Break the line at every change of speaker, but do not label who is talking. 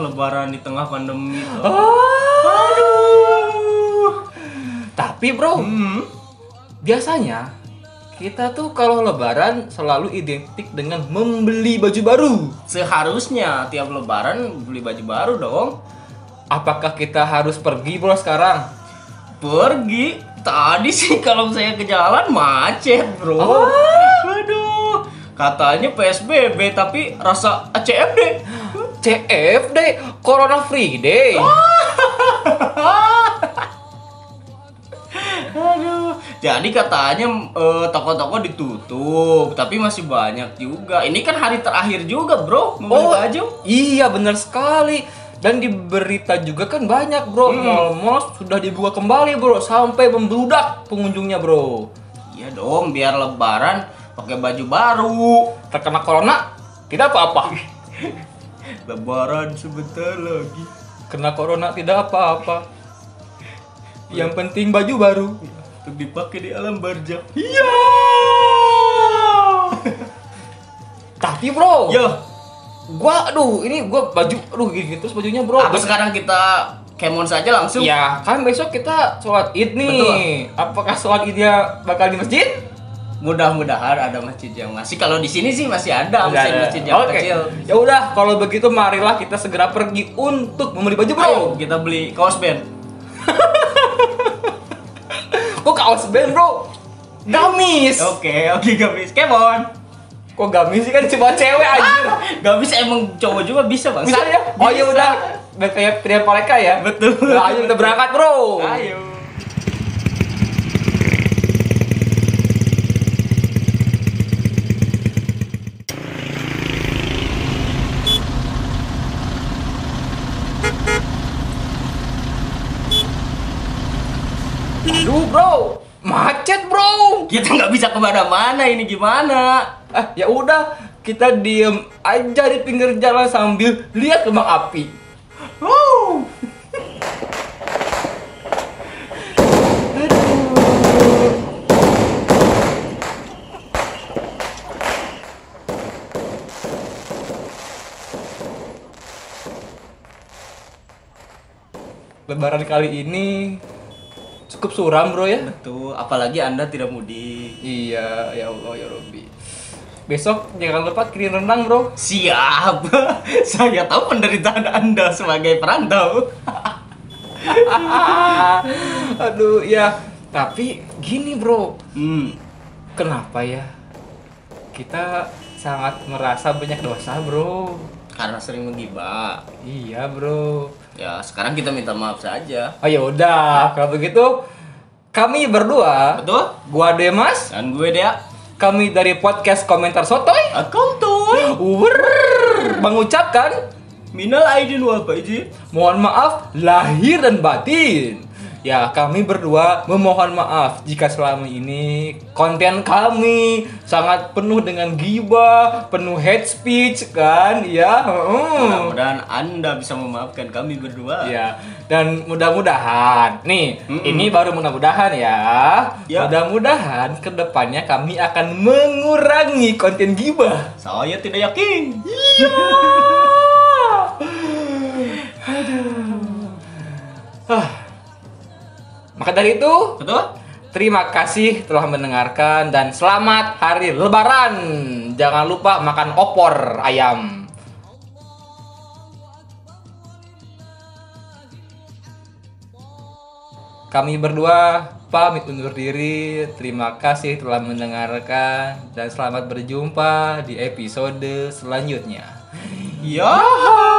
lebaran di tengah pandemi tuh.
Ah. Aduh. Tapi bro,
Hmm.
biasanya kita tuh kalau lebaran selalu identik dengan membeli baju baru.
Seharusnya tiap lebaran beli baju baru dong.
Apakah kita harus pergi bro sekarang?
Pergi. Tadi sih kalau saya ke jalan macet, Bro. Aduh. Katanya PSBB tapi rasa CFD.
CFD, Corona Free Day.
Aduh. Jadi katanya eh, toko-toko ditutup, tapi masih banyak juga. Ini kan hari terakhir juga, Bro, membeli baju.
Oh, Iya benar sekali. Dan di berita juga kan banyak bro, mall-mall sudah dibuka kembali bro, sampai membludak pengunjungnya bro.
Iya dong, biar lebaran pakai baju baru.
Terkena corona, tidak apa-apa.
Lebaran sebentar lagi.
Kena corona tidak apa-apa. Yang penting baju baru.
Untuk dipakai di alam barja.
Iya. Tapi bro,
Yo,
gua aduh ini gua baju aduh gini terus bajunya bro.
apa sekarang kita kemon saja langsung?
Ya kan besok kita sholat id nih. Apakah sholat idnya bakal di masjid?
Mudah-mudahan ada masjid yang masih. Kalau di sini sih masih ada
Udah ada.
masjid-masjid yang
Oke.
kecil.
Ya udah, kalau begitu marilah kita segera pergi untuk membeli baju bro.
Ayo kita beli kaos band.
Kok kaos band bro? Gamis.
Oke, oke gamis. Kemon.
Kok gamis sih kan cuma cewek
Ah.
aja.
Gamis emang cowok juga bisa, iya, Bang.
Bisa ya? Oh ya
Bisa.
udah, udah kayak pria mereka ya.
Betul. Nah, iya.
Nah, ayo kita berangkat bro.
Ayo.
Aduh bro, macet bro.
Kita nggak bisa kemana-mana ini gimana?
Eh ya udah, kita diem aja di pinggir jalan sambil lihat kembang api.
Wow.
Lebaran kali ini cukup suram bro ya.
Tuh, apalagi Anda tidak mudik.
Iya, ya Allah ya Robi. Besok jangan lupa kirim rendang bro.
Siap. Saya tahu penderitaan Anda sebagai perantau.
Aduh ya, tapi gini bro,
Hmm.
kenapa ya kita sangat merasa banyak dosa bro?
Karena sering menggibah.
Iya bro.
Ya, sekarang kita minta maaf saja.
Oh ya udah, kalau begitu kami berdua,
Betul?
gua Demas,
Dan gue dia
kami dari podcast komentar sotoy,
Akum tuh.
wur, mengucapkan
Minal aidin wal faizin.
mohon maaf lahir dan batin. Ya, kami berdua memohon maaf jika selama ini konten kami sangat penuh dengan gibah, penuh hate speech kan, ya. heeh.
Mudah-mudahan Anda bisa memaafkan kami berdua.
Ya, dan mudah-mudahan nih, ini baru mudah-mudahan ya.
Ya.
Mudah-mudahan kedepannya kami akan mengurangi konten gibah.
Saya tidak yakin.
Hah. Ah. Maka dari itu,
Betul?
terima kasih telah mendengarkan dan selamat hari Lebaran. Jangan lupa makan opor ayam. Kami berdua pamit undur diri. Terima kasih telah mendengarkan dan selamat berjumpa di episode selanjutnya.
Ya.